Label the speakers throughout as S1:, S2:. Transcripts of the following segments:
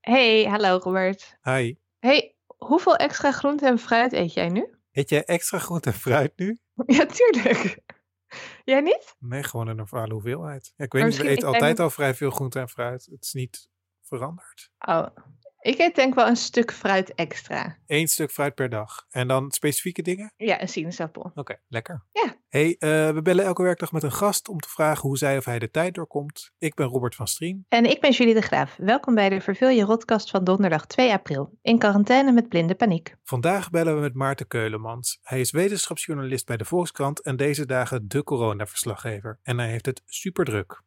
S1: Hey, hallo Robert.
S2: Hi.
S1: Hey, hoeveel extra groente en fruit eet jij nu?
S2: Eet jij extra groente en fruit nu?
S1: Ja, tuurlijk. Jij niet?
S2: Nee, gewoon een normale hoeveelheid. Ja, ik weet
S1: Maar
S2: niet, we
S1: misschien
S2: eten
S1: eet jij
S2: altijd
S1: nu-
S2: al vrij veel groente en fruit. Het is niet veranderd.
S1: Oh, ik eet denk wel een stuk fruit extra.
S2: Eén stuk fruit per dag. En dan specifieke dingen?
S1: Ja, een sinaasappel.
S2: Oké, lekker.
S1: Ja.
S2: hey, eh, we bellen elke werkdag met een gast om te vragen hoe zij of hij de tijd doorkomt. Ik ben Robert van Strien.
S1: En ik ben Julie de Graaf. Welkom bij de Verveel je Rotkast van donderdag 2 april. In quarantaine met blinde paniek.
S2: Vandaag bellen we met Maarten Keulemans. Hij is wetenschapsjournalist bij de Volkskrant en deze dagen de coronaverslaggever. En hij heeft het super druk.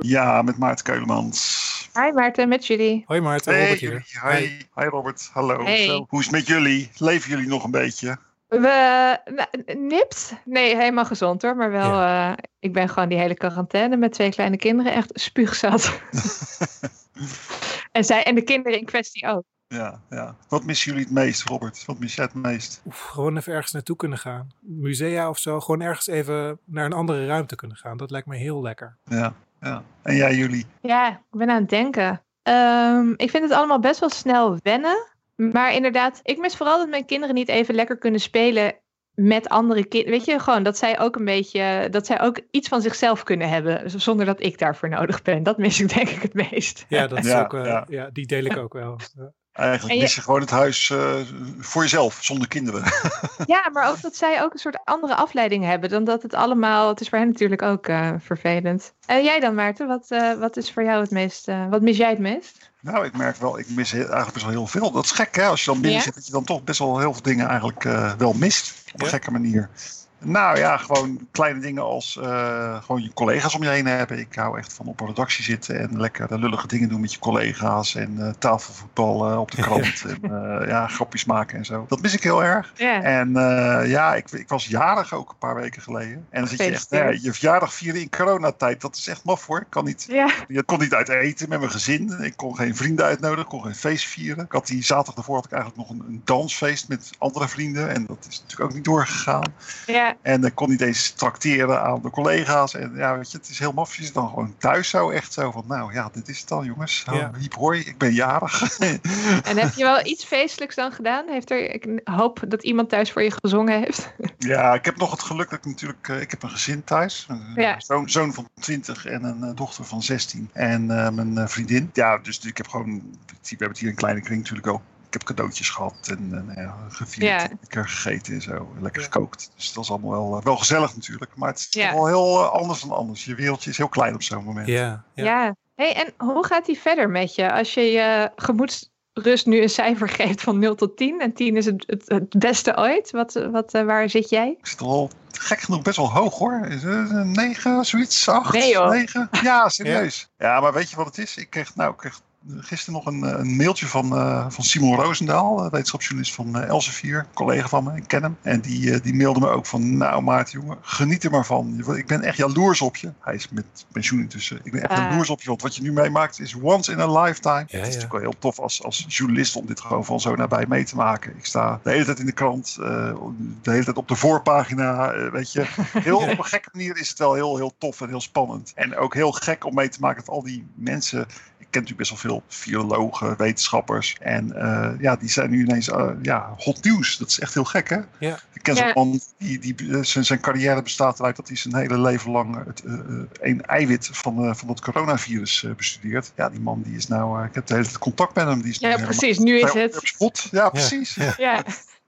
S3: Ja, met Maarten Keulemans.
S1: Hi Maarten, met Julie.
S2: Hoi Maarten, Robert hier.
S3: jullie. Hi. Hi Robert, hallo.
S1: Hey.
S3: Zo, Hoe is het met jullie? Leven jullie nog een beetje?
S1: We, nou, nipt? Nee, helemaal gezond hoor. Maar wel, eh, ik ben gewoon die hele quarantaine met twee kleine kinderen echt spuugzat. en, zij, en de kinderen in kwestie ook.
S3: Ja, ja. Wat missen jullie het meest, Robert? Wat mis jij het meest?
S2: Oef, gewoon even ergens naartoe kunnen gaan. Musea of zo. Gewoon ergens even naar een andere ruimte kunnen gaan. Dat lijkt me heel lekker.
S3: Ja, ja. En jij, jullie?
S1: Ja, ik ben aan het denken. Ehm, ik vind het allemaal best wel snel wennen. Maar inderdaad, ik mis vooral dat mijn kinderen niet even lekker kunnen spelen met andere kinderen. Weet je, gewoon dat zij ook een beetje, dat zij ook iets van zichzelf kunnen hebben. z- Zonder dat ik daarvoor nodig ben. Dat mis ik denk ik het meest.
S2: Ja, dat is
S3: Ja,
S2: ook, eh,
S3: ja.
S2: ja. die deel ik ook wel. Ja.
S3: Eigenlijk
S1: En je-
S3: mis je gewoon het huis eh, voor jezelf, zonder kinderen.
S1: Ja, maar ook dat zij ook een soort andere afleiding hebben dan dat het allemaal. Het is voor hen natuurlijk ook eh, vervelend. En jij dan, Maarten? Wat, eh, wat is voor jou het meest? eh, wat mis jij het meest?
S3: Nou, ik merk wel, ik mis heel- eigenlijk best wel heel veel. Dat is gek, hè? Als je dan binnen
S1: Ja?
S3: zit, dat je dan toch best wel heel veel dingen eigenlijk eh, wel mist. Op een
S2: Ja?
S3: gekke manier. Nou ja, gewoon kleine dingen als eh, gewoon je collega's om je heen hebben. Ik hou echt van op een redactie zitten en lekker de lullige dingen doen met je collega's. En eh, tafelvoetbal eh, op de krant. en eh, ja, grapjes maken en zo. Dat mis ik heel erg.
S1: Ja.
S3: En eh, ja, ik, ik was jarig ook een paar weken geleden. En dan zit je echt, ja,
S1: Gefeliciteerd.
S3: je verjaardag vieren in coronatijd. Dat is echt maf hoor. Ik kan niet
S1: Ja.
S3: ik kon niet uit eten met mijn gezin. Ik kon geen vrienden uitnodigen. Ik kon geen feest vieren. Ik had die zaterdag daarvoor had ik eigenlijk nog een, een dansfeest met andere vrienden. En dat is natuurlijk ook niet doorgegaan.
S1: ja.
S3: En ik kon niet eens tracteren aan de collega's. En ja, weet je, het is heel maf. Je zit dan gewoon thuis zo echt zo van... Nou ja, dit is het dan jongens.
S2: Ja.
S3: Ja. Hiep hoi, ik ben jarig.
S1: En heb je wel iets feestelijks dan gedaan? Heeft er, ik hoop dat iemand thuis voor je gezongen heeft.
S3: ja, ik heb nog het geluk dat ik natuurlijk... eh, ik heb een gezin thuis. Een eh,
S1: Ja.
S3: zoon, zoon van 20 en een eh, dochter van 16. En eh, mijn eh, vriendin. Ja, dus ik heb gewoon... We hebben het hier in een kleine kring natuurlijk ook. Ik heb cadeautjes gehad en eh, nou ja, gevierd,
S1: Ja.
S3: en lekker gegeten en zo, lekker
S2: Ja.
S3: gekookt. Dus dat is allemaal wel, eh, wel gezellig natuurlijk, maar het is
S1: Ja.
S3: toch wel heel eh, anders dan anders. Je wereldje is heel klein op zo'n moment.
S2: Ja,
S1: Ja.
S2: ja.
S1: Hey, en hoe gaat die verder met je? Als je je gemoedsrust nu een cijfer geeft van 0 tot 10 en 10 is het, het, het beste ooit, wat, wat, eh, waar zit jij?
S3: Ik zit al gek genoeg best wel hoog hoor. Is het een 9, zoiets? 8?
S1: Nee, joh.
S3: 9? Ja, serieus. Ja. maar weet je wat het is? Ik kreeg, nou, ik kreeg gisteren nog een, eh, een mailtje van, eh, van Simon Roosendaal, eh, wetenschapsjournalist van eh, Elsevier, collega van me, ik ken hem. En die, eh, die mailde me ook van, nou Maarten jongen, geniet er maar van. Ik ben echt jaloers op je. Hij is met pensioen intussen. Ik ben
S1: Ah.
S3: echt jaloers op je, want wat je nu meemaakt is once in a lifetime.
S2: Ja,
S3: het is
S2: ja.
S3: natuurlijk wel heel tof als, als journalist om dit gewoon van zo nabij mee te maken. Ik sta de hele tijd in de krant, eh, de hele tijd op de voorpagina, eh, weet je. Heel, op een gekke manier is het wel heel, heel tof en heel spannend. En ook heel gek om mee te maken dat al die mensen... Ik ken natuurlijk best wel veel virologen, wetenschappers. En eh, ja, die zijn nu ineens eh, ja, hot nieuws. Dat is echt heel gek, hè?
S2: Ja.
S3: Ik ken zo'n
S1: Ja.
S3: man, die, die, eh, zijn, zijn carrière bestaat eruit dat hij zijn hele leven lang het, eh, eh, een eiwit van, eh van dat coronavirus eh, bestudeert. Ja, die man die is nou... eh, ik heb de hele tijd contact met hem. Die is nu
S1: Ja,
S3: helemaal-
S1: precies, nu is
S3: hij-
S1: het.
S3: op spot. Ja, precies.
S1: Ja,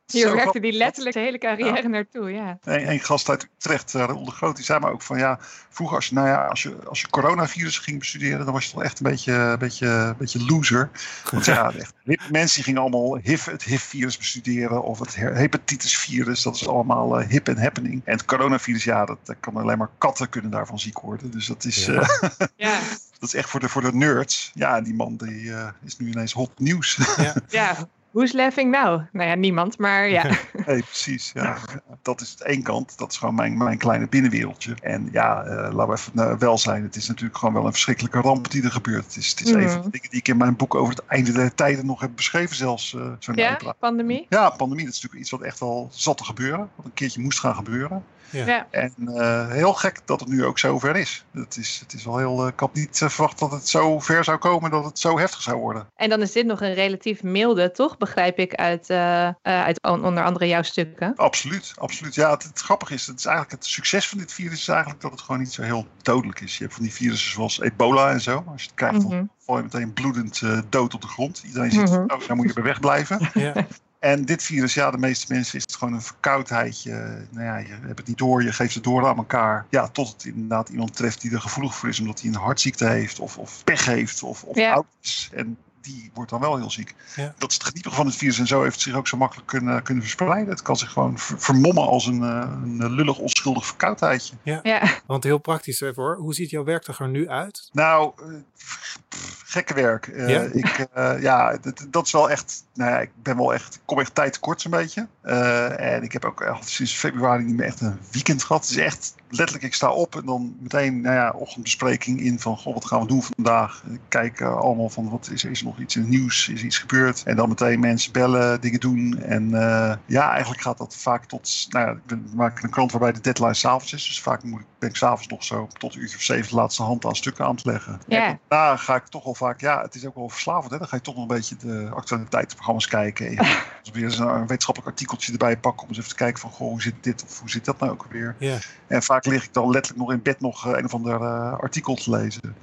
S1: hier
S3: Zo
S1: werkte
S3: grappig.
S1: die letterlijk de hele carrière naartoe, ja.
S3: Een, een gast uit Utrecht, eh, Raoul de Groot, die zei me ook van ja, vroeger als je, nou ja, als je, als je coronavirus ging bestuderen, dan was je toch echt een beetje, een beetje, een beetje loser. Want ja, echt, hippe mensen die gingen allemaal HIV, het HIV-virus bestuderen of het her- hepatitis-virus, dat is allemaal eh, hip en happening. En het coronavirus, ja, dat, dat kan alleen maar katten kunnen daarvan ziek worden. Dus dat is,
S2: Ja.
S3: eh,
S1: Ja,
S3: dat is echt voor de, voor de nerds. Ja, en die man die eh, is nu ineens hot nieuws.
S1: ja. Who's laughing now? Nou ja, niemand, maar ja.
S3: Nee, precies. Ja. Dat is het één kant. Dat is gewoon mijn, mijn kleine binnenwereldje. En ja, eh, laten we even eh, wel zijn. Het is natuurlijk gewoon wel een verschrikkelijke ramp die er gebeurt. Het is, het is
S1: Mhm.
S3: een van de dingen die ik in mijn boek over het einde der tijden nog heb beschreven. Zelfs eh, zo'n
S1: Ja,
S3: uitbraak.
S1: pandemie.
S3: Ja, pandemie, dat is natuurlijk iets wat echt wel zat te gebeuren. Wat een keertje moest gaan gebeuren.
S2: Ja.
S1: Ja.
S3: En eh, heel gek dat het nu ook zo ver is. Het is, het is wel heel, eh, ik had niet eh, verwacht dat het zo ver zou komen dat het zo heftig zou worden.
S1: En dan is dit nog een relatief milde, toch? Begrijp ik uit, eh, eh, uit on- onder andere jouw stukken.
S3: Absoluut, absoluut. Ja, het, het grappige is, het is eigenlijk het succes van dit virus is eigenlijk dat het gewoon niet zo heel dodelijk is. Je hebt van die virussen zoals ebola en zo. Als je het krijgt, dan
S1: Mhm.
S3: val je meteen bloedend eh, dood op de grond. Iedereen ziet,
S1: Mhm.
S3: oh, daar moet je bij wegblijven.
S2: Ja.
S3: En dit virus, ja, de meeste mensen is het gewoon een verkoudheidje. Nou ja, je hebt het niet door, je geeft het door aan elkaar. Ja, tot het inderdaad iemand treft die er gevoelig voor is, omdat hij een hartziekte heeft, of, of pech heeft, of, of
S1: Ja.
S3: oud is. En die wordt dan wel heel ziek.
S2: Ja.
S3: Dat is het geniepige van het virus. En zo heeft het zich ook zo makkelijk kunnen, kunnen verspreiden. Het kan zich gewoon ver- vermommen als een, eh, een lullig, onschuldig verkoudheidje.
S1: Ja.
S2: Want heel praktisch even hoor. Hoe ziet jouw werkdag er nu uit?
S3: Nou, eh, pff, pff, gekke werk. Eh,
S2: Ja?
S3: ik, eh, ja, dat, dat is wel echt. Nou ja, ik ben wel echt. Ik kom echt tijd tekort zo'n beetje. Eh, en ik heb ook al sinds februari niet meer echt een weekend gehad. Het is echt letterlijk. Ik sta op en dan meteen, nou ja, ochtendbespreking in van. Goh, wat gaan we doen vandaag? Eh, Kijken allemaal van wat is, is er nog iets in het nieuws? Is iets gebeurd? En dan meteen mensen bellen, dingen doen. En eh, ja, eigenlijk gaat dat vaak tot. Nou ja, ik ben- we maken een krant waarbij de deadline s'avonds is. Dus vaak moet ik, ben ik s'avonds nog zo tot een uurtje of zeven de laatste hand aan stukken aan te leggen.
S1: Ja.
S3: En daarna ga ik toch wel vaak, ja, het is ook wel verslavend. Hè? Dan ga je toch nog een beetje de actualiteitsprogramma's kijken. En je gaat weer eens een, een wetenschappelijk artikeltje erbij pakken om eens even te kijken van, goh, hoe zit dit of hoe zit dat nou ook weer?
S2: Ja.
S3: En vaak lig ik dan letterlijk nog in bed nog eh, een of ander eh, artikel te lezen.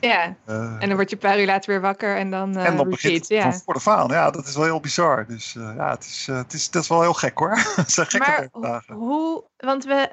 S1: ja.
S3: Eh,
S1: En dan word je een paar uur later weer wakker en dan, eh
S3: en dan
S1: repeat.
S3: begint het
S1: ja.
S3: van voor de faal. Nou Ja, dat is wel heel bizar. Dus eh, ja, het is, eh, het is, dat is wel heel gek hoor. het zijn gekke
S1: Maar
S3: werkdagen.
S1: hoe, want we,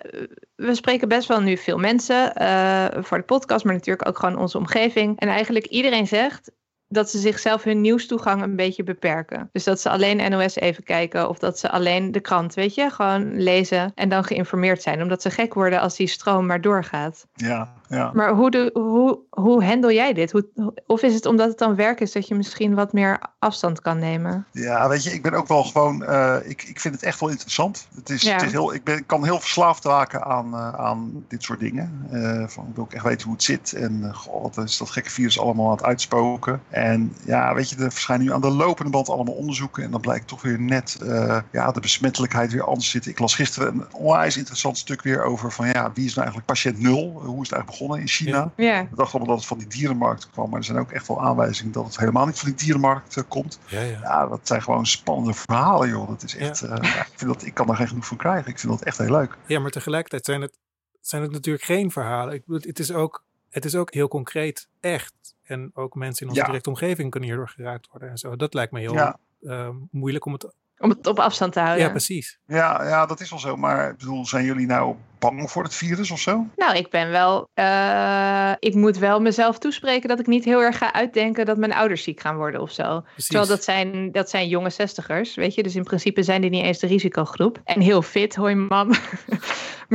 S1: we spreken best wel nu veel mensen eh, voor de podcast, maar natuurlijk ook gewoon onze omgeving. En eigenlijk iedereen zegt dat ze zichzelf hun nieuwstoegang een beetje beperken. Dus dat ze alleen NOS even kijken of dat ze alleen de krant, weet je, gewoon lezen en dan geïnformeerd zijn. Omdat ze gek worden als die stroom maar doorgaat.
S3: Ja, ja.
S1: Maar hoe, doe- hoe, hoe handel jij dit? Hoe, of is het omdat het dan werk is dat je misschien wat meer afstand kan nemen?
S3: Ja, weet je, ik ben ook wel gewoon. eh, ik, ik vind het echt wel interessant. Het is,
S1: Ja.
S3: het is heel, ik, ben, ik kan heel verslaafd raken aan, eh, aan dit soort dingen. Eh, van, ik wil ook echt weten hoe het zit. En eh, goh, wat is dat gekke virus allemaal aan het uitspoken. En ja, weet je, er verschijnen nu aan de lopende band allemaal onderzoeken. En dan blijkt toch weer net eh, ja, de besmettelijkheid weer anders zitten. Ik las gisteren een onwijs interessant stuk weer over van ja, wie is nou eigenlijk patiënt nul? Hoe is het eigenlijk begonnen in China?
S1: Ja,
S3: Ik dacht allemaal dat het van die dierenmarkt kwam. Maar er zijn ook echt wel aanwijzingen dat het helemaal niet van die dierenmarkt eh, komt.
S2: Ja, ja.
S3: Ja, dat zijn gewoon spannende verhalen, joh. Dat is echt, eh, ja, ik, vind dat, ik kan daar geen genoeg van krijgen. Ik vind dat echt heel leuk.
S2: ja, maar tegelijkertijd zijn het, zijn het natuurlijk geen verhalen. Ik bedoel, het, is ook, het is ook heel concreet echt. En ook mensen in onze
S3: Ja.
S2: directe omgeving kunnen hierdoor geraakt worden en zo. Dat lijkt me heel
S3: Ja.
S2: eh, moeilijk om het...
S1: om het op afstand te houden.
S2: ja, precies.
S3: Ja, ja, dat is wel zo. Maar ik bedoel, zijn jullie nou bang voor het virus of zo?
S1: Nou, ik ben wel. eh, ik moet wel mezelf toespreken dat ik niet heel erg ga uitdenken dat mijn ouders ziek gaan worden of zo.
S2: Precies.
S1: Terwijl dat zijn, dat zijn jonge zestigers, weet je. Dus in principe zijn die niet eens de risicogroep. En heel fit, hoi mam.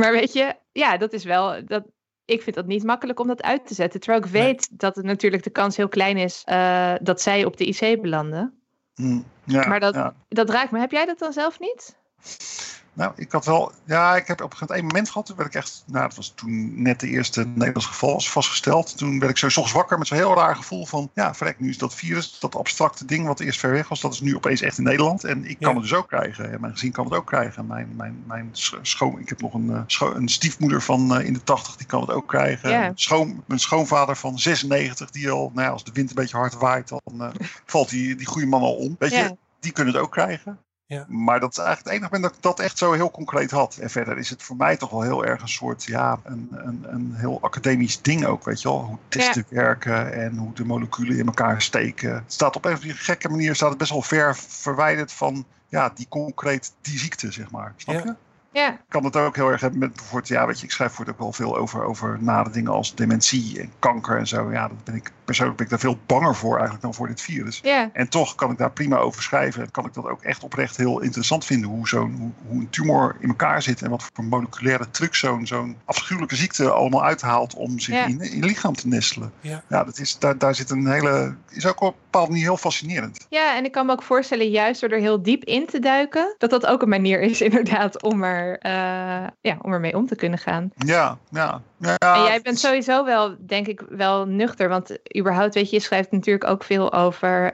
S1: maar weet je, ja, dat is wel. Dat, ik vind dat niet makkelijk om dat uit te zetten. Terwijl ik
S2: Nee.
S1: weet dat het natuurlijk de kans heel klein is eh, dat zij op de IC belanden.
S3: Hm, ja,
S1: Maar dat-
S3: ja.
S1: Dat raakt me. Heb jij dat dan zelf niet?
S3: Nou, ik had wel. Ja, ik heb op een gegeven moment één moment gehad. Toen werd ik echt. Nou, dat was toen net de eerste Nederlands geval was vastgesteld. Toen werd ik zo 's ochtends wakker met zo'n heel raar gevoel van. Ja, verrek, nu is dat virus, dat abstracte ding wat eerst ver weg was, dat is nu opeens echt in Nederland. En ik kan
S2: Ja.
S3: het dus ook krijgen. En mijn gezin kan het ook krijgen. Mijn, mijn, mijn scho- schoon. Ik heb nog een, eh, scho- een stiefmoeder van eh, in de 80, die kan het ook krijgen.
S1: Ja.
S3: Een Schoon, mijn schoonvader van 96, die al. Nou, ja, als de wind een beetje hard waait, dan eh, valt die, die goede man al om. Weet je,
S1: Ja.
S3: die kunnen het ook krijgen.
S2: Ja.
S3: Maar dat is eigenlijk het enige moment dat ik dat echt zo heel concreet had. En verder is het voor mij toch wel heel erg een soort, ja, een, een, een heel academisch ding ook, weet je wel. Hoe testen werken en hoe de moleculen in elkaar steken. Het staat op een of andere gekke manier staat het best wel ver verwijderd van, ja, die concreet, die ziekte, zeg maar. Snap
S2: Ja.
S3: je?
S1: Ja,
S3: kan het ook heel erg hebben met bijvoorbeeld, ja, weet je, ik schrijf voor het ook wel veel over, over nare dingen als dementie en kanker en zo. Ja, dat ben ik, persoonlijk ben ik daar veel banger voor eigenlijk dan voor dit virus.
S1: ja,
S3: En toch kan ik daar prima over schrijven. En kan ik dat ook echt oprecht heel interessant vinden. Hoe, zo'n, hoe, hoe een tumor in elkaar zit. En wat voor moleculaire trucs zo'n, zo'n afschuwelijke ziekte allemaal uithaalt. om zich
S1: Ja.
S3: in, in je lichaam te nestelen.
S2: Ja.
S3: dat is, daar, daar zit een hele. is ook op een bepaalde manier heel fascinerend.
S1: ja, en ik kan me ook voorstellen, juist door er heel diep in te duiken, dat dat ook een manier is inderdaad om, er, eh, ja, om ermee om te kunnen gaan.
S3: Ja, ja. ja
S1: en jij
S3: het
S1: bent
S3: is-
S1: sowieso wel, denk ik, wel nuchter. Want überhaupt, weet je, je schrijft natuurlijk ook veel over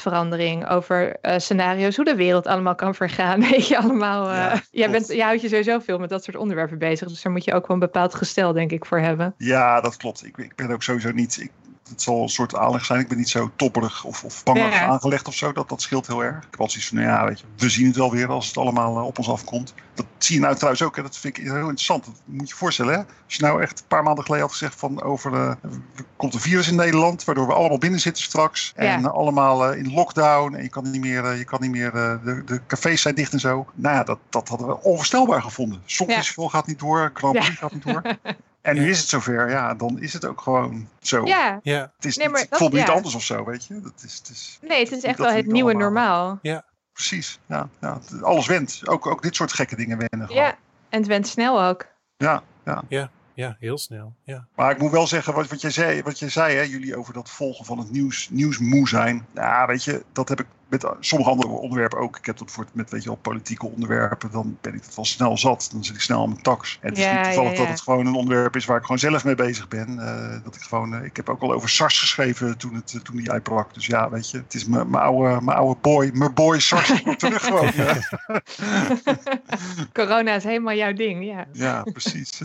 S1: klimaatverandering, over eh, scenario's, hoe de wereld allemaal kan vergaan. Weet je, allemaal. eh,
S3: Ja,
S1: jij,
S3: klopt.
S1: bent, jij houdt je sowieso veel met dat soort onderwerpen bezig. Dus daar moet je ook wel een bepaald gestel, denk ik, voor hebben.
S3: Ja, dat klopt. Ik, ik ben ook sowieso niet. Ik, het zal een soort aanleg zijn. Ik ben niet zo topperig of, of bangerig
S1: Ja.
S3: aangelegd of zo. Dat, dat scheelt heel erg. Ik heb altijd zoiets van, nou ja, weet je, we zien het wel weer als het allemaal eh, op ons afkomt. Dat zie je nou trouwens ook. En dat vind ik heel interessant. Dat moet je je voorstellen. Hè? Als je nou echt een paar maanden geleden had gezegd van over eh, er komt een virus in Nederland, waardoor we allemaal binnen zitten straks. En
S1: Ja.
S3: allemaal eh, in lockdown. En je kan niet meer, eh, je kan niet meer eh, de, de cafés zijn dicht en zo. Nou ja, dat, dat hadden we onvoorstelbaar gevonden. Songfestival gaat niet door, Grand Prix gaat niet door. En nu is het zover, ja, dan is het ook gewoon zo.
S1: Ja,
S2: Ja,
S3: het is
S1: nee,
S3: niet,
S1: maar
S3: het
S1: dat-
S3: voelt niet
S1: ja.
S3: anders of zo, weet je. Dat is, het is
S1: nee, het is echt
S3: Dat
S1: wel
S3: vind
S1: het
S3: ik
S1: nieuwe
S3: allemaal-
S1: normaal.
S3: precies, ja, ja, het- alles went. Ook, ook dit soort gekke dingen wennen. gewoon.
S1: Ja, en het went snel ook.
S3: ja, ja.
S2: ja, heel snel. Ja.
S3: Maar ik moet wel zeggen, wat, wat jij zei, wat jij zei hè, jullie over dat volgen van het nieuws, nieuwsmoe zijn. Ja, weet je, dat heb ik met eh, sommige andere onderwerpen ook. Ik heb dat voor, met weet je wel, politieke onderwerpen, dan ben ik het wel snel zat. Dan zit ik snel aan mijn tax. En het is
S1: Ja,
S3: niet toevallig
S1: ja, ja.
S3: dat het gewoon een onderwerp is waar ik gewoon zelf mee bezig ben. Eh, dat ik gewoon, eh, ik heb ook al over SARS geschreven toen, het, eh, toen die uitbrak. Dus ja, weet je, het is mijn mijn oude, mijn oude boy, mijn boy SARS komt terug gewoon. hè. Hm.
S1: Corona is helemaal jouw ding, ja.
S3: Ja, precies.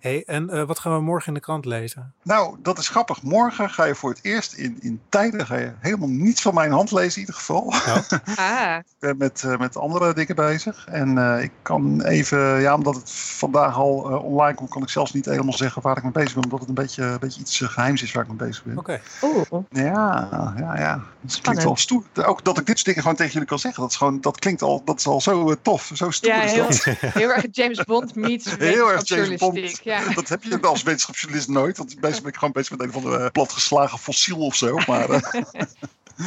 S2: Hey, en eh, wat gaan we morgen in de krant lezen?
S3: Nou, dat is grappig. Morgen ga je voor het eerst in, in tijden ga je helemaal niets van mijn hand lezen in ieder geval.
S1: Ah,
S3: ik ben met, eh, met andere dingen bezig. En eh, ik kan even, ja, omdat het vandaag al eh, online komt, kan ik zelfs niet helemaal zeggen waar ik mee bezig ben. Omdat het een beetje, een beetje iets eh, geheims is waar ik mee bezig ben.
S2: Oké.
S1: oeh.
S3: Ja, ja, ja. Het klinkt
S1: Spannend.
S3: wel stoer. Ook dat ik dit soort dingen gewoon tegen jullie kan zeggen. Dat, is gewoon, dat klinkt al, dat is al zo eh, tof. Zo stoer
S1: Ja,
S3: is
S1: heel,
S3: dat.
S1: heel erg James Bond meets
S3: Heel erg James
S1: wetenschapsjournalistiek,
S3: Bond.
S1: Ja.
S3: Dat heb je als wetenschapsjournalist nooit. Want meestal ben ik gewoon bezig met een of andere eh, platgeslagen fossiel of zo. Maar, eh,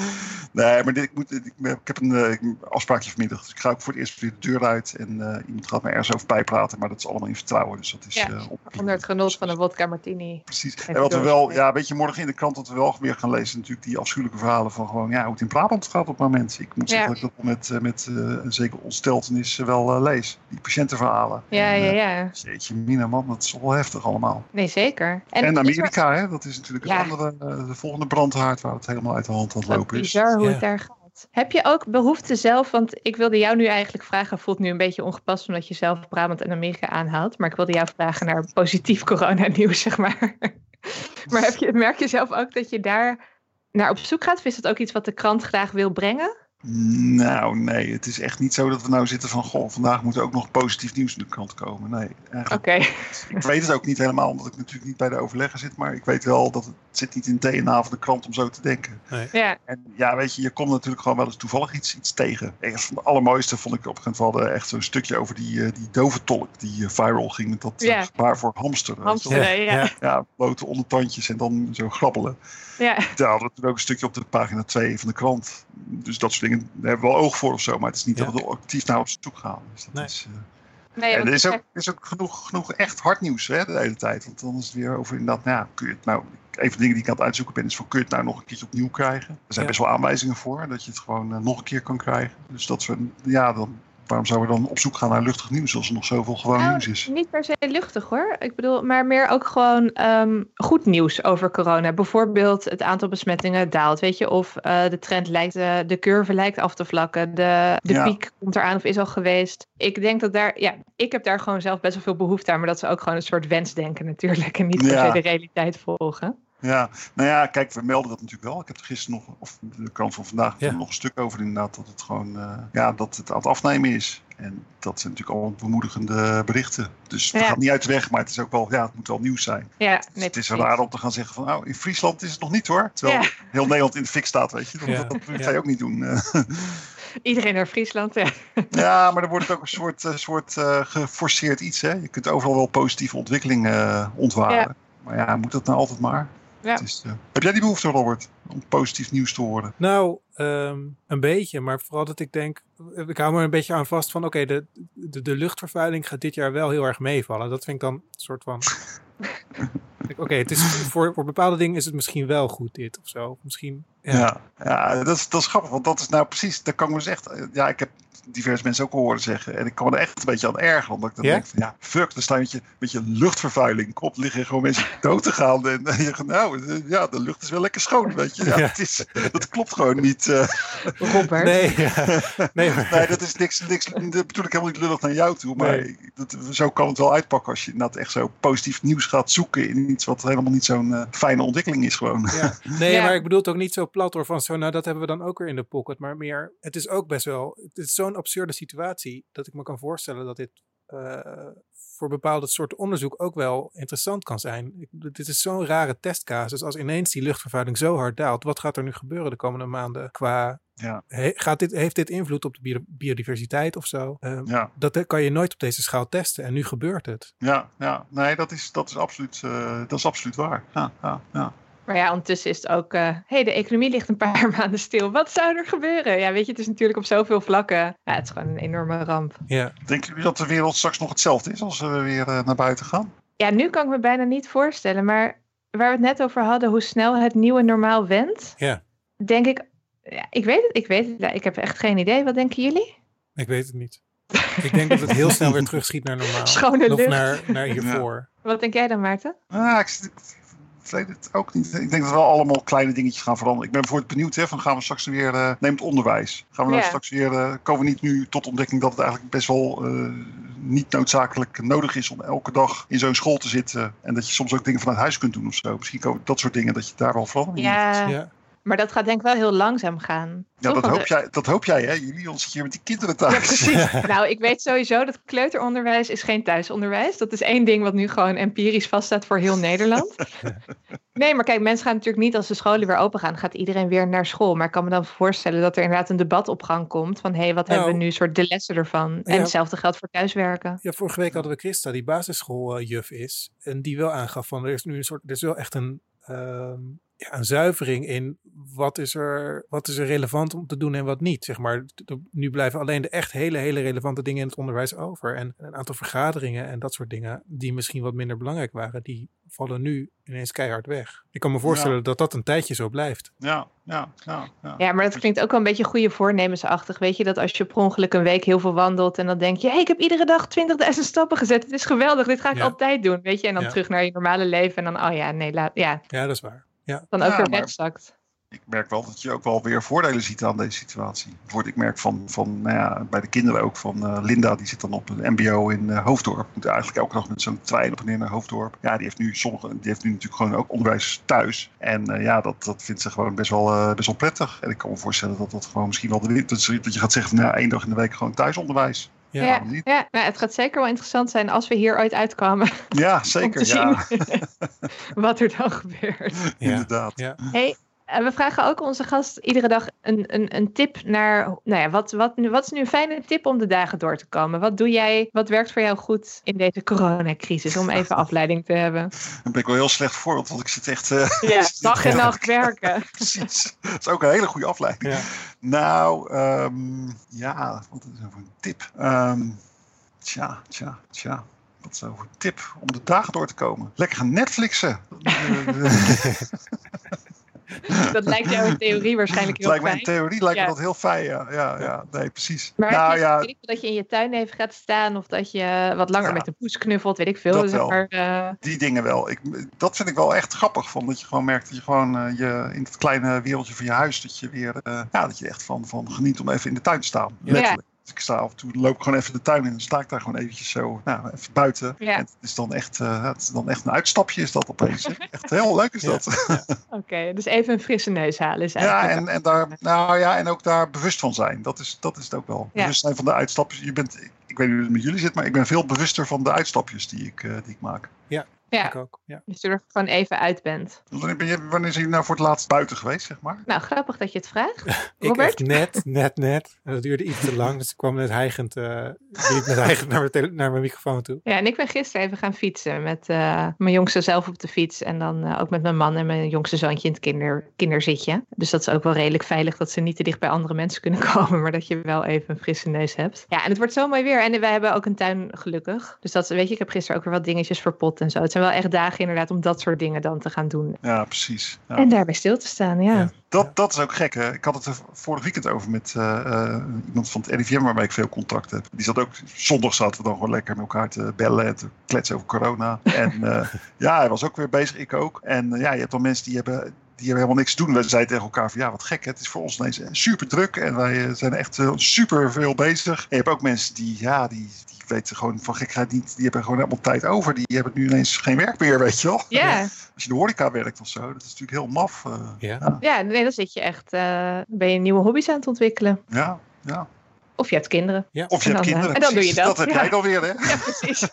S3: nee, maar dit, ik, moet, ik, ik heb een eh, een afspraakje vanmiddag. Dus ik ga ook voor het eerst weer de deur uit. En eh, iemand gaat me ergens over bijpraten. Maar dat is allemaal in vertrouwen. Dus dat is
S1: Ja,
S3: eh, op-
S1: Onder het genot van een vodka martini.
S3: Precies.
S1: Even
S3: En wat we wel,
S1: doorgesprek.
S3: ja, weet je, morgen in de krant dat we wel weer gaan lezen, natuurlijk die afschuwelijke verhalen van gewoon, ja, hoe het in Brabant gaat op het moment. Ik moet
S1: Ja.
S3: zeggen dat ik dat met, eh, met eh, een zekere ontsteltenis eh, wel eh, lees. Die patiëntenverhalen.
S1: Ja,
S3: En,
S1: ja,
S3: eh,
S1: ja.
S3: Jeetje, mina man, dat is wel heftig allemaal.
S1: Nee, zeker.
S3: En,
S1: is er-
S3: Amerika, hè, dat is natuurlijk
S1: Ja.
S3: het andere, eh, de volgende brandhaard waar het helemaal uit de hand aan het
S1: Wat
S3: lopen is.
S1: bizar hoe
S2: Ja.
S1: het daar gaat. Heb je ook behoefte zelf, want ik wilde jou nu eigenlijk vragen, voelt nu een beetje ongepast omdat je zelf Brabant en Amerika aanhaalt, maar ik wilde jou vragen naar positief coronanieuws, zeg maar. maar heb je, merk je zelf ook dat je daar naar op zoek gaat? Of is dat ook iets wat de krant graag wil brengen?
S3: Nou, nee, het is echt niet zo dat we nou zitten van, goh, vandaag moet er ook nog positief nieuws in de krant komen. Nee, eigenlijk
S1: Oké,
S3: Ik weet het ook niet helemaal, omdat ik natuurlijk niet bij de overleggen zit. Maar ik weet wel dat het zit niet in het DNA van de krant om zo te denken.
S1: ja.
S3: En ja, weet je, je komt natuurlijk gewoon wel eens toevallig iets, iets tegen. Echt van het allermooiste vond ik op een gegeven moment wel, eh, echt zo'n stukje over die, eh, die dove tolk die eh, viral ging met dat eh,
S1: Ja.
S3: gebaar voor hamster. weet je wel.
S1: Hamster. Ja, ja.
S3: Ja, blote ondertandjes en dan zo grabbelen.
S1: ja.
S3: Ja, dat is ook een stukje op de pagina 2 van de krant. Dus dat soort dingen, daar hebben we wel oog voor of zo. Maar het is niet
S2: Ja.
S3: dat we er actief naar op zoek gaan. Dus dat
S2: Nee.
S3: is... eh,
S1: Nee,
S3: en
S1: want
S3: er is
S1: ik-
S3: ook, er is ook genoeg, genoeg echt hard nieuws hè, de hele tijd. Want dan is het weer over inderdaad, nou, ja, kun je het nou... Een van de dingen die ik aan het uitzoeken ben, is van kun je het nou nog een keertje opnieuw krijgen? Er zijn
S2: Ja.
S3: best wel aanwijzingen voor, dat je het gewoon eh, nog een keer kan krijgen. Dus dat we, ja, dan, waarom zouden we dan op zoek gaan naar luchtig nieuws als er nog zoveel gewoon
S1: Nou,
S3: nieuws is?
S1: Niet per se luchtig hoor. Ik bedoel, maar meer ook gewoon ehm, goed nieuws over corona. Bijvoorbeeld het aantal besmettingen daalt, weet je. Of eh, de trend lijkt, eh, de curve lijkt af te vlakken. De, de
S3: Ja.
S1: piek komt eraan of is al geweest. Ik denk dat daar, ja, ik heb daar gewoon zelf best wel veel behoefte aan. Maar dat ze ook gewoon een soort wensdenken natuurlijk. En niet per
S3: Ja.
S1: se de realiteit volgen.
S3: Ja, nou ja, kijk, we melden dat natuurlijk wel. Ik heb er gisteren nog, of de krant van vandaag,
S2: Ja.
S3: nog een stuk over inderdaad, dat het gewoon, eh, ja, dat het aan het afnemen is. En dat zijn natuurlijk allemaal bemoedigende berichten. Dus het
S1: Ja.
S3: gaat niet uit de weg, maar het is ook wel, ja, het moet wel nieuws zijn.
S1: Ja, nee,
S3: Dus het is
S1: precies.
S3: raar om te gaan zeggen van, nou, in Friesland is het nog niet hoor. Terwijl
S1: Ja.
S3: heel Nederland in de fik staat, weet je. Dat,
S2: Ja,
S3: dat, dat
S2: ja.
S3: ga je ook niet doen. eh.
S1: Iedereen naar Friesland. Ja.
S3: Ja, maar er wordt ook een soort, eh, soort eh, geforceerd iets. Hè? Je kunt overal wel positieve ontwikkeling eh, ontwaren. Maar ja, moet dat nou altijd maar?
S1: Ja.
S3: Het is, eh, heb jij die behoefte, Robert? Om positief nieuws te horen?
S2: Nou, ehm, een beetje. Maar vooral dat ik denk, eh, ik hou me er een beetje aan vast van, oké, de, de, de luchtvervuiling gaat dit jaar wel heel erg meevallen. Dat vind ik dan een soort van... Oké, het is voor, voor bepaalde dingen is het misschien wel goed dit of zo. Misschien, ja.
S3: Ja, ja dat, is, dat is grappig, want dat is nou precies, daar kan ik me dus echt, ja, ik heb diverse mensen ook al horen zeggen, en ik kwam er echt een beetje aan erger, omdat ik dan
S2: Ja?
S3: denk van, ja, fuck, dan sta je met je, met je luchtvervuiling, kop liggen gewoon mensen dood te gaan, en, en je gaat, nou, eh, ja, de lucht is wel lekker schoon, weet je, ja,
S2: Ja.
S3: Het is, dat klopt gewoon niet, eh.
S1: Robert.
S2: Nee, ja. nee, maar-
S3: nee, dat is niks, niks, dat bedoel ik helemaal niet lullig naar jou toe, maar
S2: Nee.
S3: ik- dat, zo kan het wel uitpakken als je inderdaad echt zo positief nieuws gaat zoeken in iets wat helemaal niet zo'n eh, fijne ontwikkeling is gewoon.
S2: Ja. Nee,
S1: Ja.
S2: maar ik bedoel het ook niet zo plat hoor. Van zo, nou dat hebben we dan ook weer in de pocket. Maar meer, het is ook best wel. Het is zo'n absurde situatie dat ik me kan voorstellen dat dit eh, voor bepaalde soorten onderzoek ook wel interessant kan zijn. Ik, bedoel, dit is zo'n rare testcasus. Als ineens die luchtvervuiling zo hard daalt, wat gaat er nu gebeuren de komende maanden? Qua
S3: Ja.
S2: he- gaat dit, heeft dit invloed op de bio- biodiversiteit of zo? Ehm,
S3: Ja.
S2: Dat kan je nooit op deze schaal testen. En nu gebeurt het.
S3: Ja, ja. nee, dat is, dat is, absoluut, eh, dat is absoluut waar. Ja, ja, ja.
S1: Maar ja, ondertussen is het ook. eh, hey, de economie ligt een paar maanden stil. Wat zou er gebeuren? Ja, weet je, het is natuurlijk op zoveel vlakken. Ja, het is gewoon een enorme ramp.
S2: Ja.
S3: Denken jullie dat de wereld straks nog hetzelfde is als we weer eh, naar buiten gaan?
S1: Ja, nu kan ik me bijna niet voorstellen. Maar waar we het net over hadden, hoe snel het nieuwe normaal wendt.
S2: Ja.
S1: Denk ik. Ja, ik weet het, ik weet het. ja, Ik heb echt geen idee. Wat denken jullie?
S2: Ik weet het niet. Ik denk dat het heel snel weer terugschiet naar normaal.
S1: Schone
S2: Of
S1: lucht.
S2: naar, naar hiervoor.
S1: Wat denk jij dan, Maarten?
S3: Ah, ik, zit- ik weet het ook niet. Ik denk dat we wel allemaal kleine dingetjes gaan veranderen. Ik ben bijvoorbeeld benieuwd, hè, van gaan we straks weer, eh neem het onderwijs. Gaan we nou
S1: Ja.
S3: straks weer, eh, komen we niet nu tot ontdekking dat het eigenlijk best wel eh, niet noodzakelijk nodig is om elke dag in zo'n school te zitten. En dat je soms ook dingen vanuit huis kunt doen of zo. Misschien komen dat soort dingen, dat je daar wel verandering in
S1: Ja,
S2: Ja.
S1: maar dat gaat denk ik wel heel langzaam gaan.
S3: Ja,
S1: Toch?
S3: dat
S1: Want
S3: hoop,
S1: de-
S3: jij, dat hoop jij, hè? Jullie ons hier met die kinderen
S1: Ja,
S3: thuis.
S1: precies. nou, ik weet sowieso dat kleuteronderwijs is geen thuisonderwijs. Dat is één ding wat nu gewoon empirisch vaststaat voor heel Nederland. Nee, maar kijk, mensen gaan natuurlijk niet als de scholen weer open gaan, gaat iedereen weer naar school. Maar ik kan me dan voorstellen dat er inderdaad een debat op gang komt van hé, hey, wat
S2: Nou.
S1: hebben we nu soort de lessen ervan?
S2: Ja.
S1: En hetzelfde geldt voor thuiswerken.
S2: Ja, vorige week hadden we Christa, die basisschooljuf is. En die wel aangaf van, er is nu een soort, er is wel echt een, ehm, ja, een zuivering in wat is, er, wat is er relevant om te doen en wat niet. Zeg maar, D- d- nu blijven alleen de echt hele, hele relevante dingen in het onderwijs over. En een aantal vergaderingen en dat soort dingen, die misschien wat minder belangrijk waren, die vallen nu ineens keihard weg. Ik kan me voorstellen dat dat een tijdje zo blijft.
S3: Ja, ja, ja. ja.
S1: Ja, maar dat klinkt ook wel een beetje goede voornemensachtig. Weet je, dat als je per ongeluk een week heel veel wandelt en dan denk je, hey, ik heb iedere dag 20.000 stappen gezet. Het is geweldig, dit ga ik
S2: Ja.
S1: altijd doen. Weet je, en dan
S2: Ja.
S1: terug naar je normale leven en dan, oh ja, nee, laat, ja,
S2: Ja, dat is waar.
S1: dan ook
S3: Ja,
S1: weer
S3: maar-
S1: wegzakt.
S3: Ik merk wel dat je ook wel weer voordelen ziet aan deze situatie. Bijvoorbeeld, ik merk van, van nou ja, bij de kinderen ook van eh, Linda, die zit dan op een MBO in eh, Hoofddorp. Moet eigenlijk elke dag met zo'n trein op en neer naar Hoofddorp. Ja, die heeft nu, sommige, die heeft nu natuurlijk gewoon ook onderwijs thuis. En eh, ja, dat, dat vindt ze gewoon best wel, eh, best wel prettig. En ik kan me voorstellen dat dat gewoon misschien wel de win- dat ze- dat je gaat zeggen van nou, één dag in de week gewoon thuisonderwijs.
S2: Ja.
S1: Ja,
S3: waarom niet?
S1: ja nou, het gaat zeker wel interessant zijn als we hier ooit uitkomen.
S3: Ja,
S1: om te
S3: zeker.
S1: zien
S3: Ja,
S1: wat er dan gebeurt.
S3: inderdaad.
S1: En we vragen ook onze gast iedere dag een, een, een tip naar. Nou ja, wat, wat, wat is nu een fijne tip om de dagen door te komen? Wat doe jij? Wat werkt voor jou goed in deze coronacrisis? Om even afleiding te hebben.
S3: Dan ben ik wel een heel slecht voorbeeld, want ik zit echt... eh,
S1: Ja, dag en
S3: Ja.
S1: nacht werken.
S3: precies. Dat is ook een hele goede afleiding.
S2: Ja.
S3: Nou, ehm, ja, wat is nou voor een tip? Ehm, tja, tja, tja. Wat is nou voor een tip om de dagen door te komen? Lekker gaan Netflixen.
S1: Dat lijkt jou in theorie waarschijnlijk heel
S3: lijkt me
S1: fijn.
S3: in theorie lijkt
S1: Ja.
S3: me dat heel fijn, ja. ja, ja nee, precies.
S1: Maar het
S3: nou
S1: is
S3: ja,
S1: weet ik veel, dat je in je tuin even gaat staan of dat je wat langer
S3: Ja.
S1: met de poes knuffelt, weet ik veel.
S3: Dat
S1: Dus zeg
S3: wel.
S1: maar, eh,
S3: die dingen wel. Ik, dat vind ik wel echt grappig, van dat je gewoon merkt dat je gewoon eh, je, in het kleine wereldje van je huis, dat je weer, eh, ja, dat je echt van, van geniet om even in de tuin te staan.
S2: Ja.
S3: Letterlijk. Dus ik sta af en toe, loop ik gewoon even de tuin in. Dan sta ik daar gewoon eventjes zo, nou, even buiten.
S1: Ja.
S3: En het is dan echt, eh, het is dan echt een uitstapje is dat opeens. hè. Echt heel leuk is
S2: Ja.
S3: dat.
S1: oké. Dus even een frisse neus halen is eigenlijk.
S3: Ja, en, en, daar, nou ja, en ook daar bewust van zijn. Dat is, dat is het ook wel.
S1: Ja.
S3: Bewust zijn van de uitstapjes. Je bent, ik weet niet hoe het met jullie zit, maar ik ben veel bewuster van de uitstapjes die ik, eh, die ik maak.
S1: Ja,
S2: Ik ook. Ja.
S1: dat je er gewoon even uit bent.
S3: Wanneer, ben je, wanneer zijn jullie nou voor het laatst buiten geweest, zeg maar?
S1: Nou, grappig dat je het vraagt.
S2: Ik
S1: Robert?
S2: echt net, net, net. En dat duurde iets te lang, dus ik kwam net hijgend, eh, liep net hijgend naar, mijn tele- naar mijn microfoon toe.
S1: Ja, en ik ben gisteren even gaan fietsen met eh, mijn jongste zelf op de fiets. En dan eh, ook met mijn man en mijn jongste zoontje in het kinder, kinderzitje. Dus dat is ook wel redelijk veilig dat ze niet te dicht bij andere mensen kunnen komen. Maar dat je wel even een frisse neus hebt. Ja, en het wordt zo mooi weer. En wij hebben ook een tuin, gelukkig. Dus dat, is- weet je, ik heb gisteren ook weer wat dingetjes verpot en zo. Het zijn wel echt dagen inderdaad om dat soort dingen dan te gaan doen.
S3: Ja, precies. Ja.
S1: En daarbij stil te staan, ja.
S2: Ja. Ja.
S3: Dat, dat is ook gek, hè? Ik had het er vorig weekend over met eh, eh, iemand van het RIVM waarmee ik veel contact heb. Die zat ook, zondag zaten we dan gewoon lekker met elkaar te bellen en te kletsen over corona. En eh, ja, hij was ook weer bezig, ik ook. En eh, ja, je hebt dan mensen die hebben, die hebben helemaal niks te doen. Wij zeiden tegen elkaar van ja, wat gek, hè? het is voor ons ineens eh, super druk en wij eh, zijn echt eh, super veel bezig. En je hebt ook mensen die, ja, die, die weten gewoon van gekheid niet, die hebben gewoon helemaal tijd over. Die hebben nu ineens geen werk meer, weet je wel.
S1: Ja,
S3: Als je in de horeca werkt of zo, dat is natuurlijk heel maf. eh.
S2: Ja.
S1: ja nee, dan zit je echt, eh, ben je nieuwe hobby's aan het ontwikkelen.
S3: ja, ja.
S1: Of je hebt kinderen.
S3: Of je
S1: En
S3: hebt
S1: dan, eh,
S3: kinderen.
S1: en dan doe
S3: precies.
S1: je dat,
S3: heb
S1: ja.
S3: jij dan weer, hè?
S1: Ja, precies.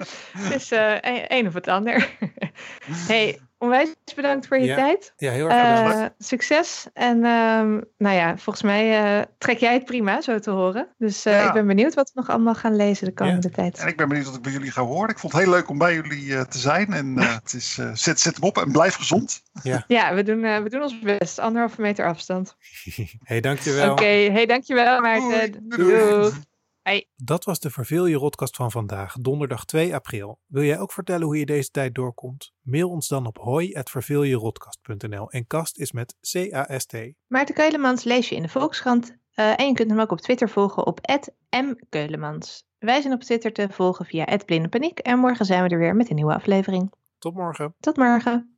S1: dus eh een, een of het ander. hey, onwijs bedankt voor je
S2: Ja,
S1: tijd.
S2: Ja, heel erg
S1: Eh,
S2: bedankt.
S1: succes. En ehm, nou ja, volgens mij eh, trek jij het prima, zo te horen. Dus eh,
S3: Ja.
S1: ik ben benieuwd wat we nog allemaal gaan lezen de komende tijd.
S3: En ik ben benieuwd wat ik bij jullie ga horen. Ik vond het heel leuk om bij jullie eh, te zijn. En eh, het is, eh, zet, zet hem op en blijf gezond.
S1: Ja, we doen, eh, we doen ons best. Anderhalve meter afstand.
S2: hey,
S1: Oké,
S2: dankjewel.
S1: hey, dankjewel
S3: Doei.
S1: Maarten.
S3: Doei.
S1: Doeg.
S2: Dat was de Verveel je Rotkast van vandaag, donderdag 2 april. Wil jij ook vertellen hoe je deze tijd doorkomt? Mail ons dan op hoi.verveeljerotkast.nl en kast is met C-A-S-T.
S1: Maarten Keulemans lees je in de Volkskrant. eh, en je kunt hem ook op Twitter volgen op mkeulemans. Wij zijn op Twitter te volgen via blinde paniek. En morgen zijn we er weer met een nieuwe aflevering.
S2: Tot morgen.
S1: Tot morgen.